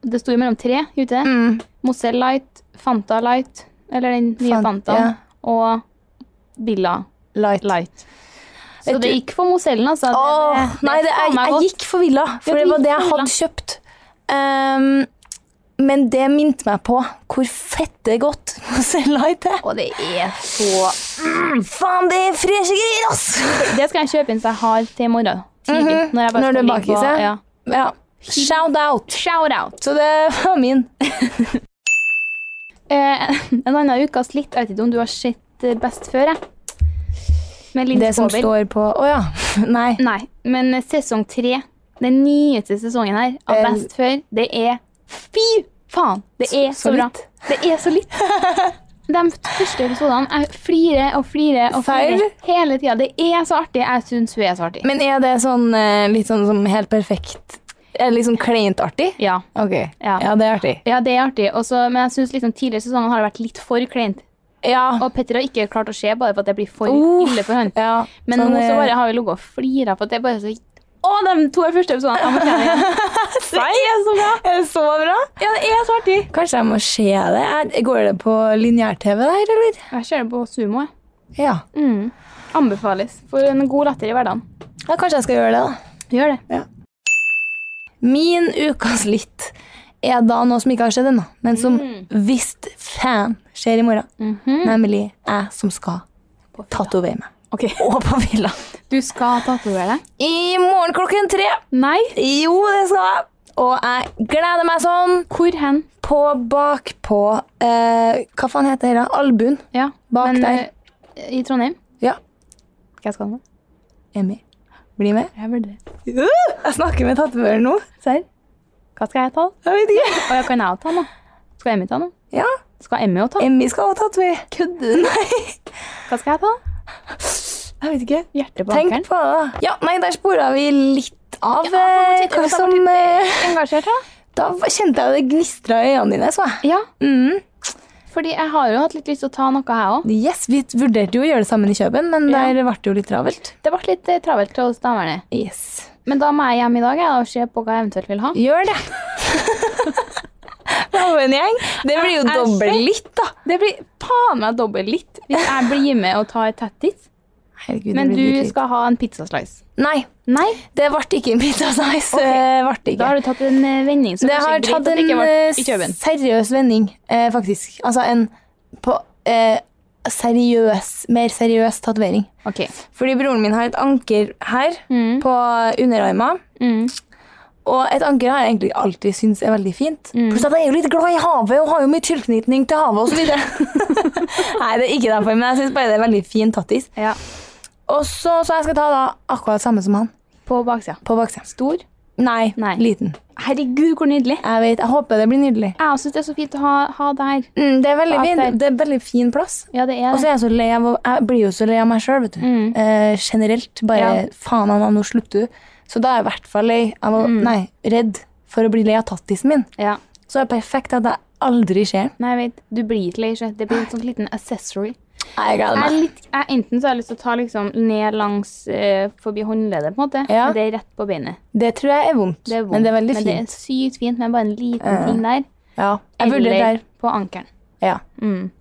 S2: Det sto jo mellom tre, gjorde det? ikke?
S1: Mm,
S2: Mozell Light, Fanta Light, eller den nye
S1: Fan-
S2: Fanta,
S1: ja.
S2: og Billa
S1: light.
S2: Light. Så
S1: Vet
S2: det
S1: du-
S2: gikk for Mozellen, altså. Det-
S1: Åh,
S2: det- det
S1: nei, det,
S2: faen
S1: jeg,
S2: meg
S1: jeg
S2: godt.
S1: gikk for villa,
S2: Ja,
S1: for
S2: du
S1: det var
S2: gikk
S1: det
S2: for
S1: jeg hadde kjøpt. Ehm, men det minte meg på hvor fette godt Mozell Light er.
S2: Og det er så
S1: Mm, faen, det er freshe greier, ass!
S2: Det skal jeg kjøpe inn så jeg har til i morgen. Tidlig.
S1: Mhm.
S2: Når, jeg bare
S1: Når
S2: skal
S1: du
S2: ligge
S1: baker,
S2: og-
S1: så?
S2: Ja.
S1: Ja. Shout out.
S2: Shout out.
S1: Så det var min.
S2: Eh, en annen ukas litt, jeg vet ikke om du har sett eh, Best før, jeg. Med Linn
S1: Det som
S2: Skåber.
S1: står på Å ja. Nei.
S2: Nei, men sesong tre, den nyeste sesongen her, av
S1: Eh,
S2: Best før, det er Fy faen! Det er så,
S1: så
S2: bra.
S1: litt.
S2: Det er så litt. De første episodene jeg flirer og flirer og
S1: Feil?
S2: flirer hele tida. Det er så artig. Jeg syns hun er så artig.
S1: Men er det sånn eh, litt sånn som helt perfekt Er det liksom kleint artig?
S2: Ja.
S1: Ok.
S2: Ja.
S1: Ja, det er artig.
S2: Ja, det er artig. Også, men jeg synes liksom tidligere sesonger har det vært litt for kleint.
S1: Ja.
S2: Og Petter har ikke klart å se bare for at det blir for
S1: Uh,
S2: ille for han.
S1: ja.
S2: Men
S1: sånn,
S2: nå så
S1: eh,
S2: bare har vi ligget og flira på at det er bare så Å, de to første episodene! Jeg må se det igjen. Det er så bra!
S1: Er det så bra?
S2: Ja, det er så artig!
S1: Kanskje jeg må se det? Er- Går det på lineær-TV der, eller?
S2: Jeg ser det på sumo. jeg.
S1: Ja.
S2: Mm. Anbefales. For en god latter i hverdagen.
S1: ja. Kanskje jeg skal gjøre det, da.
S2: Gjør det.
S1: Min ukas litt er da noe som ikke har skjedd ennå, men som
S2: Mm.
S1: visst fan skjer i morgen.
S2: Mhm.
S1: Nemlig jeg som skal tatovere meg. Og på villa.
S2: Du skal tatovere deg?
S1: I morgen klokken tre.
S2: Nei.
S1: Jo, det skal jeg. Og jeg gleder meg sånn.
S2: Hvor hen?
S1: På bakpå eh, Hva faen heter det? da? Albuen.
S2: Ja.
S1: Bak
S2: men,
S1: der.
S2: eh, I Trondheim?
S1: Ja.
S2: Hva skal du med?
S1: Emmy, bli med.
S2: Jeg vurderer.
S1: Uh, Jeg snakker med tatoveren nå.
S2: Serr? Hva skal jeg ta?
S1: Jeg vet ikke.
S2: Og jeg kan jeg også ta nå? Skal Emmy ta nå?
S1: Ja,
S2: Skal Emmy også ta?
S1: Emmy skal også tatovere. Kødder du? Nei,
S2: Hva skal jeg ta?
S1: jeg vet ikke.
S2: Hjertet på
S1: Tenk
S2: ankelen?
S1: på det. da. Ja, nei, der spora vi litt av
S2: Ja,
S1: eh,
S2: fortsett,
S1: hva
S2: fortsett,
S1: som eh,
S2: Engasjert, da?
S1: Da v- kjente jeg det gnistra i øynene dine, så jeg.
S2: Ja.
S1: Mm.
S2: Fordi jeg har jo hatt litt lyst til å ta noe, jeg òg.
S1: Yes, vi vurderte jo å gjøre det sammen i Kjøben, men
S2: Ja.
S1: der ble det jo litt travelt.
S2: Det ble litt eh, travelt hos damene.
S1: Yes.
S2: Men da må jeg hjem i dag jeg, og se på hva jeg eventuelt vil ha.
S1: Gjør det. Ravnegjeng. Det blir jo
S2: Jeg- jeg
S1: doble
S2: ser-
S1: litt, da.
S2: Det blir faen meg dobbelt litt hvis jeg blir med og tar tattis.
S1: Herregud, det
S2: Men
S1: blir
S2: du
S1: litt litt.
S2: skal ha en pizzaslice.
S1: Nei,
S2: Nei,
S1: det ble ikke en pizza size.
S2: Ok.
S1: eh, ble det
S2: da
S1: ikke.
S2: har du tatt en eh, vending. som
S1: Det
S2: kanskje
S1: har
S2: er greit
S1: tatt
S2: at det
S1: en
S2: ikke ble i
S1: eh,
S2: Kjøben.
S1: seriøs vending, eh, faktisk. Altså en på, eh, seriøs, mer seriøs tatovering.
S2: Ok.
S1: Fordi broren min har et anker her
S2: Mm.
S1: på underarmen.
S2: Mm.
S1: Og et anker har jeg egentlig alltid syntes er veldig fint.
S2: Mm.
S1: Pluss at jeg er jo litt glad i havet og har jo mye tilknytning til havet osv. Nei, det er ikke derfor, men jeg syns bare det er veldig fin tattis.
S2: Ja.
S1: Og så, så jeg skal ta da akkurat samme som han
S2: På baksida.
S1: på baksida.
S2: Stor.
S1: Nei,
S2: Nei.
S1: liten.
S2: Herregud, hvor nydelig.
S1: Jeg vet, jeg håper det blir nydelig.
S2: Jeg syns det er så fint å ha, ha det her.
S1: Mm, det er veldig
S2: Bak der.
S1: fint. Det er veldig fin plass.
S2: Ja, det
S1: Og så
S2: er det.
S1: er jeg så lei av å- Jeg blir jo så lei av meg sjøl, vet du.
S2: Mm.
S1: Eh, generelt. Bare
S2: Ja.
S1: faen, Anna, nå slutter du. Så da er
S2: Mm.
S1: jeg i hvert fall lei av å Nei, redd for å bli lei av tattisen min.
S2: Ja.
S1: Så er det perfekt at jeg aldri skjer.
S2: Nei, jeg vet, du blir ikke lei seg. Det blir en sånn liten accessory.
S1: Jeg gleder
S2: Jeg er
S1: meg.
S2: litt, jeg, enten så har jeg lyst til å ta liksom ned langs eh, forbi håndleddet, på en måte.
S1: Ja.
S2: Men det er rett på beinet.
S1: Det tror jeg er vondt,
S2: Det er vondt.
S1: men det er veldig
S2: men
S1: fint.
S2: det er sykt fint med bare en liten ting der.
S1: Ja. Jeg vurderer
S2: eller
S1: der.
S2: på ankelen.
S1: Ja.
S2: Mm.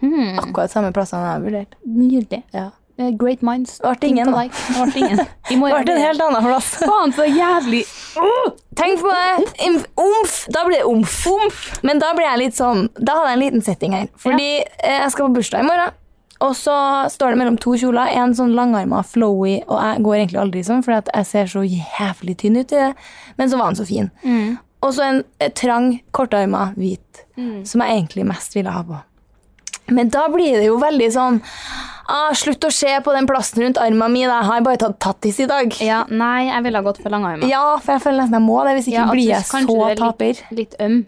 S2: Hmm,
S1: Akkurat samme plassene jeg har vurdert.
S2: nydelig.
S1: Ja.
S2: Eh, Great minds.
S1: Vart
S2: think
S1: ingen, da.
S2: alike. Det Vart ingen. I
S1: Det
S2: morgen
S1: ble en helt annen plass.
S2: Faen, så jævlig
S1: Tenk på det. Imf, omf. Da blir det omf. Men da blir jeg litt sånn Da hadde jeg en liten setting her. Fordi eh, jeg skal på bursdag i morgen. Og så står det mellom to kjoler. En sånn langarma, flowy, og jeg går egentlig aldri i sånn, fordi at jeg ser så jævlig tynn ut i det. Men så var den så fin. Og så en eh, trang, kortarma, hvit, som jeg egentlig mest ville ha på. Men da blir det jo veldig sånn ah, Slutt å se på den plassen rundt armen min, jeg har bare tatt tattis i dag.
S2: Ja, nei, jeg ville ha gått for langarma.
S1: Ja, for jeg føler nesten jeg må det. Hvis ikke
S2: Ja, at
S1: blir
S2: du-
S1: jeg
S2: kanskje
S1: så
S2: du er litt-
S1: taper.
S2: Litt øm,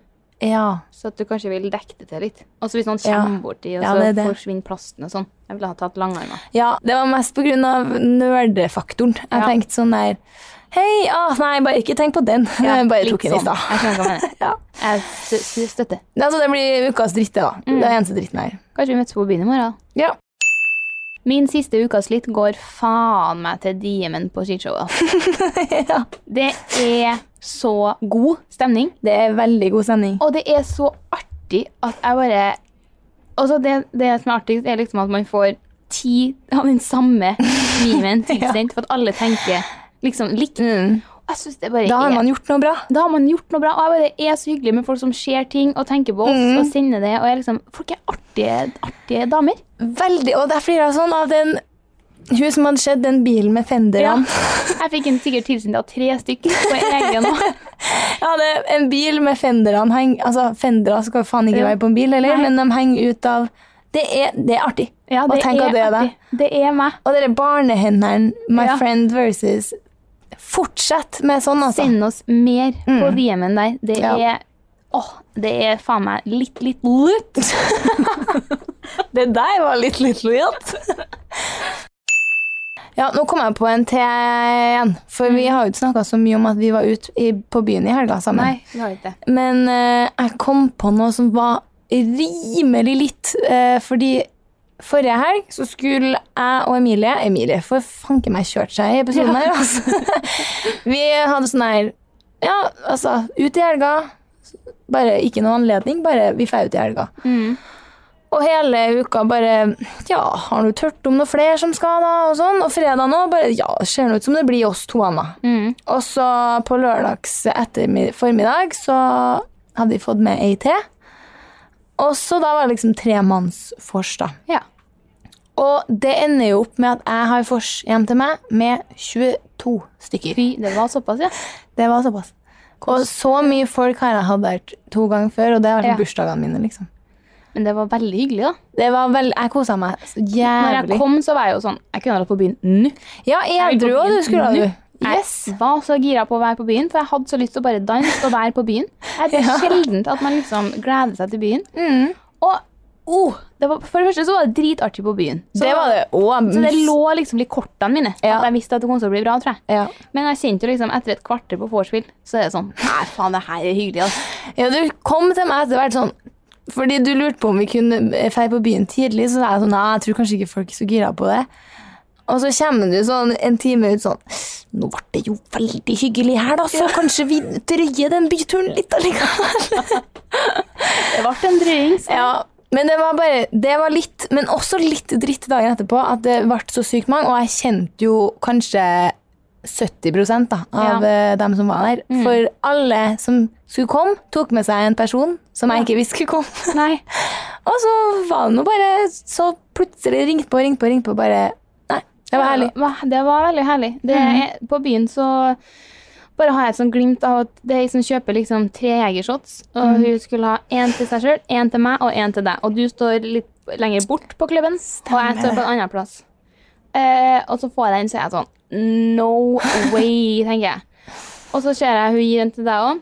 S1: Ja.
S2: så at du kanskje vil dekke det til litt. Og så hvis noen
S1: Ja.
S2: kommer borti, og
S1: Ja,
S2: så
S1: det er det.
S2: forsvinner plasten og sånn. Jeg ville ha tatt langarma.
S1: ja, det var mest på grunn av nerdefaktoren. Jeg
S2: Ja.
S1: tenkte sånn der Hei, ah, nei, bare ikke tenk på den.
S2: Ja,
S1: Jeg bare
S2: litt
S1: tok den i stad.
S2: sånn. Jeg skjønner hva du mener.
S1: Ja.
S2: Jeg stø- stø- støtter.
S1: Altså, det blir ukas dritt, det, da.
S2: Mm.
S1: Det er eneste dritten her.
S2: Kanskje vi møtes på byen i morgen. da.
S1: Ja.
S2: Min siste ukas litt går faen meg til Diemen på skishowet. altså.
S1: ja.
S2: Det er så god stemning.
S1: Det er veldig god sending.
S2: Og det er så artig at jeg bare Altså, det, det som er artigst, er liksom at man får ti av den samme memen tilsendt, for at alle tenker liksom likt.
S1: Mm.
S2: Jeg synes det bare
S1: Da har
S2: er
S1: man gjort noe bra.
S2: da har man gjort noe bra. Og jeg bare er så hyggelig med folk som ser ting og tenker på oss
S1: Mhm.
S2: og sender det. Og jeg liksom, Folk er artige, artige damer.
S1: Veldig. Og der flirer jeg sånn av den hun som hadde sett den bilen med fenderne.
S2: Jeg fikk en sikkert tilsendt av tre stykker på egen hånd.
S1: Ja, det er en bil med fenderne heng, altså Fendere skal jo faen ikke
S2: Ja.
S1: være på en bil, eller?
S2: Nei.
S1: men de henger ut av Det er, det er artig.
S2: Ja,
S1: Og tenk at det er deg.
S2: artig. Det er meg.
S1: Og dere barnehendene, my
S2: Ja.
S1: friend versus Fortsett med sånn, altså.
S2: Send oss mer på DM-en der. Det
S1: Mhm. Ja.
S2: er åh, det er faen meg litt, litt lutt.
S1: Det der var litt litt lojalt. ja, nå kom jeg på en til igjen. For vi har jo ikke snakka så mye om at vi var ute i- på byen i helga sammen.
S2: Mm. Nei, vi har ikke det.
S1: Men eh, jeg kom på noe som var rimelig litt. eh, fordi forrige helg så skulle jeg og Emilie Emilie får fanken meg kjørt seg i episoden her, altså. Vi hadde sånn her Ja, altså, ut i helga. Bare ikke noen anledning, bare vi drar ut i helga.
S2: Mm,
S1: Og hele uka bare Ja, har du tørt om noe flere som skal, da? Og sånn. Og fredag nå bare Ja, det ser nå ut som det blir oss to, Anna.
S2: mm.
S1: Og så på lørdags ettermid- formiddag så hadde vi fått med ei til. Og så da var det liksom tremannsfors, da.
S2: Ja.
S1: Og det ender jo opp med at jeg har vors hjem til meg med 22 stykker.
S2: Fy, det var såpass, ja.
S1: Det var såpass. Og så mye folk har jeg hatt der t- to ganger før, og det har vært
S2: Ja.
S1: bursdagene mine, liksom.
S2: Men det var veldig hyggelig, da.
S1: Det var vel, Jeg kosa meg så
S2: Når jeg
S1: jævlig.
S2: kom, så var jeg jo sånn Jeg kunne ha dratt på byen nå.
S1: Ja, edru òg, du skulle ha, du. Yes.
S2: Jeg var så gira på å være på byen, for jeg hadde så lyst til å bare danse og være på byen. Det er
S1: Ja.
S2: sjeldent at man liksom gleder seg til byen. Og oh, det var, for det første så var det dritartig på byen. Så,
S1: Det var det
S2: så det
S1: òg.
S2: lå liksom litt i kortene mine.
S1: Ja.
S2: At jeg visste at det kom til å bli bra, tror jeg.
S1: Ja.
S2: Men jeg kjente jo liksom etter et kvarter på vorspiel, så er det sånn Nei, faen, det her er hyggelig, altså.
S1: ja, du kom til meg etter hvert sånn Fordi du lurte på om vi kunne eh, dra på byen tidlig, så sa jeg sånn Nei, jeg tror kanskje ikke folk er så gira på det. Og så kommer du sånn en time ut sånn Nå ble det jo veldig hyggelig her, da, så kanskje vi drøyer den byturen litt allikevel.
S2: Det ble en drøying. så-
S1: Ja, men det var bare Det var litt, men også litt dritt dagen etterpå at det ble så sykt mange, og jeg kjente jo kanskje 70 da, av
S2: Ja.
S1: eh, dem som var der. For alle som skulle komme, tok med seg en person som jeg ikke visste skulle komme.
S2: Nei.
S1: Og så var det nå bare Så plutselig ringte på, ringte på, ringte på, bare Nei, det var herlig. Mhm.
S2: Det var, det var veldig herlig. Det er, på byen så bare har jeg et sånt glimt av at det er jeg som kjøper liksom tre jegershots, og
S1: Mhm.
S2: hun skulle ha én til seg sjøl, én til meg og én til deg. Og du står litt lenger bort på klubben, og jeg står på en annen plass. Eh, og så får jeg den, så er jeg sånn No way, tenker jeg. Og så ser jeg hun gir den til deg òg.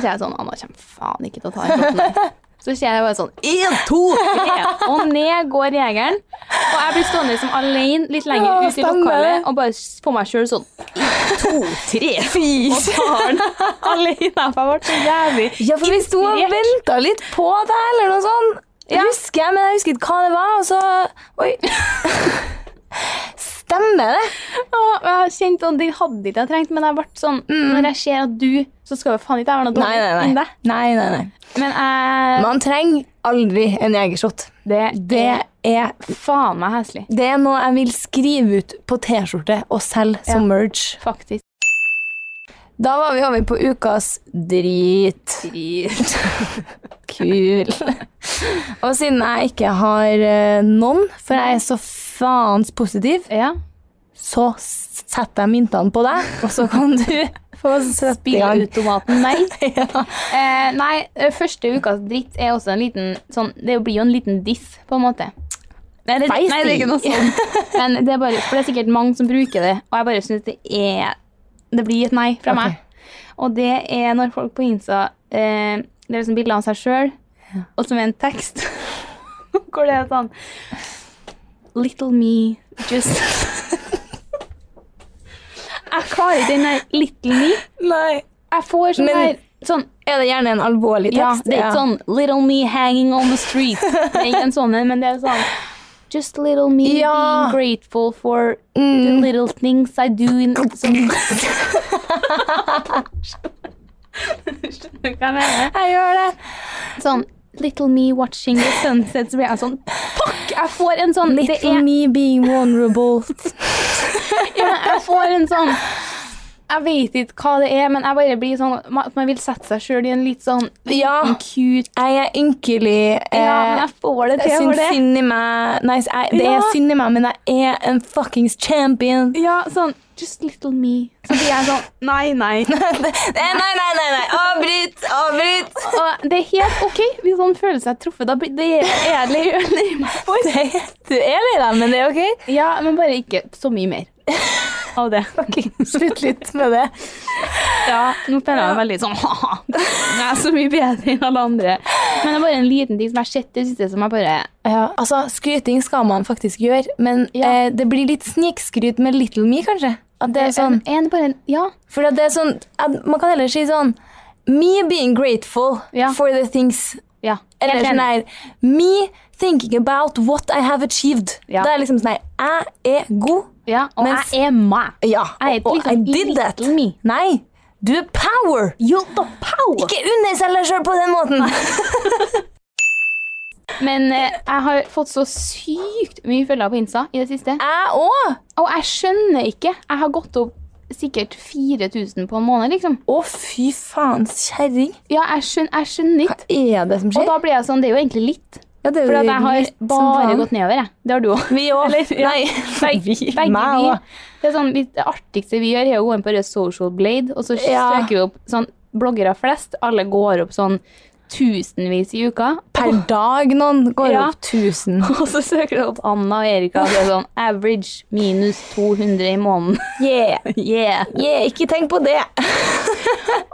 S2: Så er jeg sånn Anna kommer faen ikke til å ta den shoten her. Så ser jeg bare sånn
S4: En, to,
S2: ned, og ned går jegeren. Og jeg blir stående liksom alene litt lenger
S1: Ja,
S2: ut i
S1: stemmer det.
S2: lokalet og bare s- på meg sjøl sånn
S4: to, tre.
S1: Fy
S2: Faren alene, for jeg ble så jævlig
S1: Ja, for vi sto og
S2: Inspirert.
S1: venta litt på deg, eller noe sånt. Husker jeg, men jeg husker ikke hva det var, og så Oi. Stemmer det?
S2: Ja, jeg har kjent at det hadde ikke jeg trengt, men jeg ble sånn Når jeg ser at du Så skal jo faen ikke jeg være noe
S1: Nei,
S2: dårlig
S1: nei,
S2: enn
S1: nei.
S2: deg.
S1: nei, nei, nei.
S2: Men jeg
S1: Man trenger aldri en jegershot.
S2: det,
S1: Det er,
S2: er faen meg heslig.
S1: det er noe jeg vil skrive ut på T-skjorte og selge som merch.
S2: Faktisk.
S1: Da var vi over på ukas drit. Kul. og siden jeg ikke har eh, noen, for jeg er så faens positiv,
S2: Ja.
S1: så setter jeg myntene på deg, og så kan du få sette i gang.
S2: Bilautomaten, nei.
S1: Ja.
S2: Eh, nei, eh, første ukas dritt er også en liten sånn Det blir jo en liten diss, på en måte. Nei, det,
S1: Feisty.
S2: nei, det er ikke noe sånn. sånt. Men det er bare, for det er sikkert mange som bruker det, og jeg bare syns det er Det blir et nei fra
S1: Ok.
S2: meg. Og det er når folk på Insta eh, Det er liksom bilder av seg sjøl, og som er en tekst hvor det er sånn Little me just Jeg klarer ikke den der little me.
S1: Nei.
S2: Jeg får sånn
S1: Men-
S2: her sånn
S1: Er det gjerne en alvorlig
S2: ja,
S1: tekst?
S2: det er ikke sånn 'little me hanging on the street'. Det er ikke en sånn en, men det er sånn Just little me
S1: Ja. Mm.
S2: being grateful for the little things I do in sånn. Skjønner du hva jeg mener?
S1: Jeg gjør det.
S2: Sånn Little me watching the sunset, så blir jeg sånn Fuck! Jeg får en sånn det
S1: Little
S2: er,
S1: me being vulnerable.
S2: ja, Jeg får en sånn Jeg vet ikke hva det er, men jeg bare blir sånn Man, man vil sette seg sjøl i en litt sånn
S1: ja,
S2: cute
S1: jeg er ynkelig.
S2: Ja, men
S1: eh,
S2: jeg får det
S1: jeg
S2: til for
S1: syns
S2: det.
S1: synd i meg. Nei, jeg, det er
S2: Ja.
S1: synd i meg, men jeg er en fuckings champion.
S2: Ja, sånn Just little me. Så blir jeg sånn Nei, nei.
S1: Nei, nei, nei, nei. nei. Avbryt! Avbryt!
S2: Og det er helt OK hvis noen føler seg truffet. Da blir det er jeg lei lei meg for.
S1: Det, du er lei deg, men det er ok.
S2: Ja, men bare ikke så mye mer av det.
S1: Slutt litt med det.
S2: Ja, nå føler jeg meg veldig sånn haha. Jeg er så mye bedre enn alle andre. Men det er bare en liten ting som jeg har sett i det siste, som jeg bare
S1: Ja, altså, Skryting skal man faktisk gjøre, men
S2: Ja.
S1: eh, det blir litt snikskryt med Little Me, kanskje. At det er sånn,
S2: en, en, bare en, Ja.
S1: for at det er sånn at Man kan heller si sånn Me being grateful
S2: Ja.
S1: for the things
S2: ja.
S1: Eller
S2: Helt
S1: sånn
S2: enig.
S1: her Me thinking about what I have achieved.
S2: Ja.
S1: Da er det liksom sånn her Jeg er god.
S2: Ja, og
S1: Mens-
S2: jeg er meg.
S1: Ja.
S2: Jeg er
S1: og, og I
S2: liksom
S1: did that.
S2: little me.
S1: Nei. Du er power!
S2: You're the power.
S1: Ikke underselg deg sjøl på den måten!
S2: Men eh, jeg har fått så sykt mye følgere på Insta i det siste.
S1: Jeg òg!
S2: Og jeg skjønner ikke. Jeg har gått opp sikkert 4000 på en måned, liksom.
S1: Å, fy faens kjerring.
S2: Ja, jeg skjønner, jeg skjønner ikke.
S1: er det som
S2: Og da blir jeg sånn, det er jo egentlig litt.
S1: Ja, det er
S2: For
S1: jo
S2: at jeg har
S1: litt sånn. som
S2: bare
S1: faen.
S2: gått nedover, jeg. Det har du òg.
S1: Vi òg. Nei.
S2: Begge vi. Det, er sånn, vi- det artigste vi gjør, er å gå inn på Rød Social Blade, og så
S1: Ja.
S2: søker vi opp sånn bloggere flest. Alle går opp sånn tusenvis i uka.
S1: Per dag noen går
S2: Ja.
S1: opp 1000.
S2: Og så søker du opp Anna og Erika, og det er sånn average minus 200 i måneden.
S1: Yeah.
S2: Yeah.
S1: yeah. Ikke tenk på det.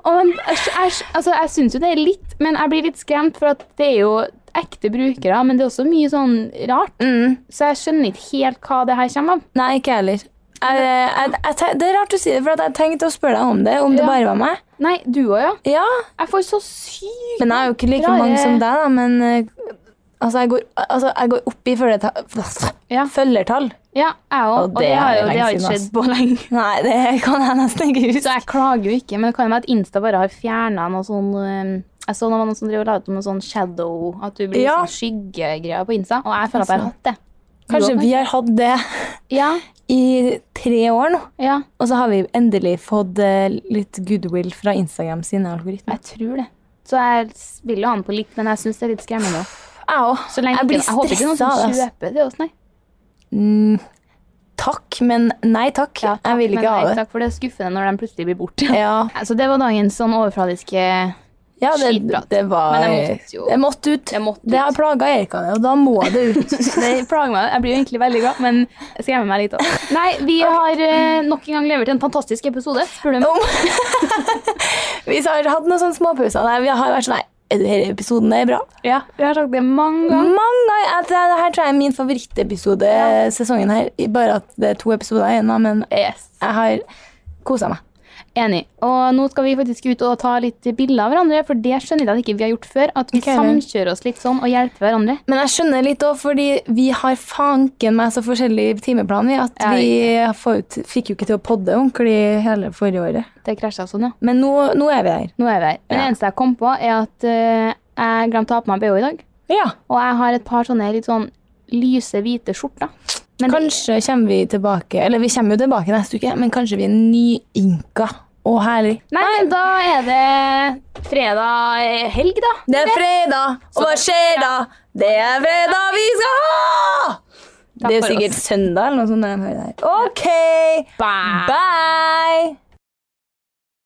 S2: Og men, jeg, jeg, altså, jeg syns jo det er litt, men jeg blir litt skremt, for at det er jo ekte brukere, men det er også mye sånn rart. Så jeg skjønner ikke helt hva det her kommer av.
S1: Mm. Nei, ikke heller. jeg heller. det er rart du sier det, for at jeg tenkte å spørre deg om det. Om det
S2: Ja.
S1: bare var meg.
S2: Nei, du òg, ja.
S1: Ja,
S2: Jeg får så sykt
S1: Men jeg er jo ikke like
S2: Rare-
S1: mange som deg, da. Men eh, altså, jeg går, altså, jeg går opp i følgertall.
S2: Ja.
S1: følgertall.
S2: Ja, jeg òg. Og det har jo det har ikke skjedd på lenge.
S1: Nei, det kan jeg nesten ikke
S2: Så
S1: huske.
S2: jeg klager jo ikke, men det kan jo være at Insta bare har fjerna noe sånn eh, Jeg så noen som drev og la ut om noe sånn shadow, at du blir
S1: Ja.
S2: sånn skyggegreier på Insta, og jeg føler at jeg har hatt det.
S1: Kanskje vi har hatt det
S2: Ja,
S1: i tre år nå.
S2: ja,
S1: Og så har vi endelig fått eh, litt goodwill fra Instagram sine algoritmer.
S2: jeg tror det. Så jeg vil jo ha den på litt, men jeg syns det er litt skremmende òg.
S1: Jeg òg.
S2: Så lenge
S1: Jeg blir
S2: ikke- jeg håper ikke noen
S1: stressa av
S2: som
S1: det, altså.
S2: kjøper det hos meg.
S1: Mm, takk, men nei takk. jeg vil ikke ha det.
S2: Takk for det er skuffende når de plutselig blir borte.
S1: Ja,
S2: Så det var dagens sånn overfladiske
S1: ja det,
S2: Skitprat.
S1: det var
S2: Men jeg måtte jo-
S1: Det måtte ut.
S2: Det måtte
S1: Det
S2: ut.
S1: har plaga Erika, det, og da må det ut.
S2: Det plager meg. Jeg blir jo egentlig veldig glad, men jeg skremmer meg litt òg. Nei, vi har eh, nok en gang levert en fantastisk episode, spør du meg.
S1: vi har hatt noen sånne småpauser der vi har vært sånn Nei, er det her episoden er bra?
S2: Ja, vi har sagt det mange ganger.
S1: Mange ganger. Jeg- Det det her tror jeg er min favorittepisode sesongen her. Bare at det er to episoder igjen, da, men
S2: Yes.
S1: jeg har Kosa meg.
S2: Enig. Og nå skal vi faktisk ut og ta litt bilder av hverandre, for det skjønner jeg at ikke vi har gjort før. At vi
S1: Ok, vel.
S2: samkjører oss litt sånn og hjelper hverandre.
S1: Men jeg skjønner litt òg, fordi vi har fanken meg så forskjellig timeplan vi, at
S2: Ja,
S1: vi får ut- fikk jo ikke til å podde ordentlig hele forrige året.
S2: Det krasja sånn, ja.
S1: Men nå, nå er vi her.
S2: Nå er vi her. Men
S1: Ja.
S2: det eneste jeg kom på, er at eh, jeg glemte å ha på meg BH i dag.
S1: Ja.
S2: Og jeg har et par sånne litt sånn lyse, hvite skjorter. Men det-
S1: Kanskje kommer vi tilbake Eller vi kommer jo tilbake neste uke, men kanskje vi er nyinka og herlig.
S2: Nei, da er det fredag eh, helg, da.
S1: Det er fredag, og hva skjer da? Det er fredag vi skal ha! Det er
S2: for
S1: Ah. sikkert søndag eller noe sånt. når de hører det her. OK!
S2: Bye!
S1: Bye!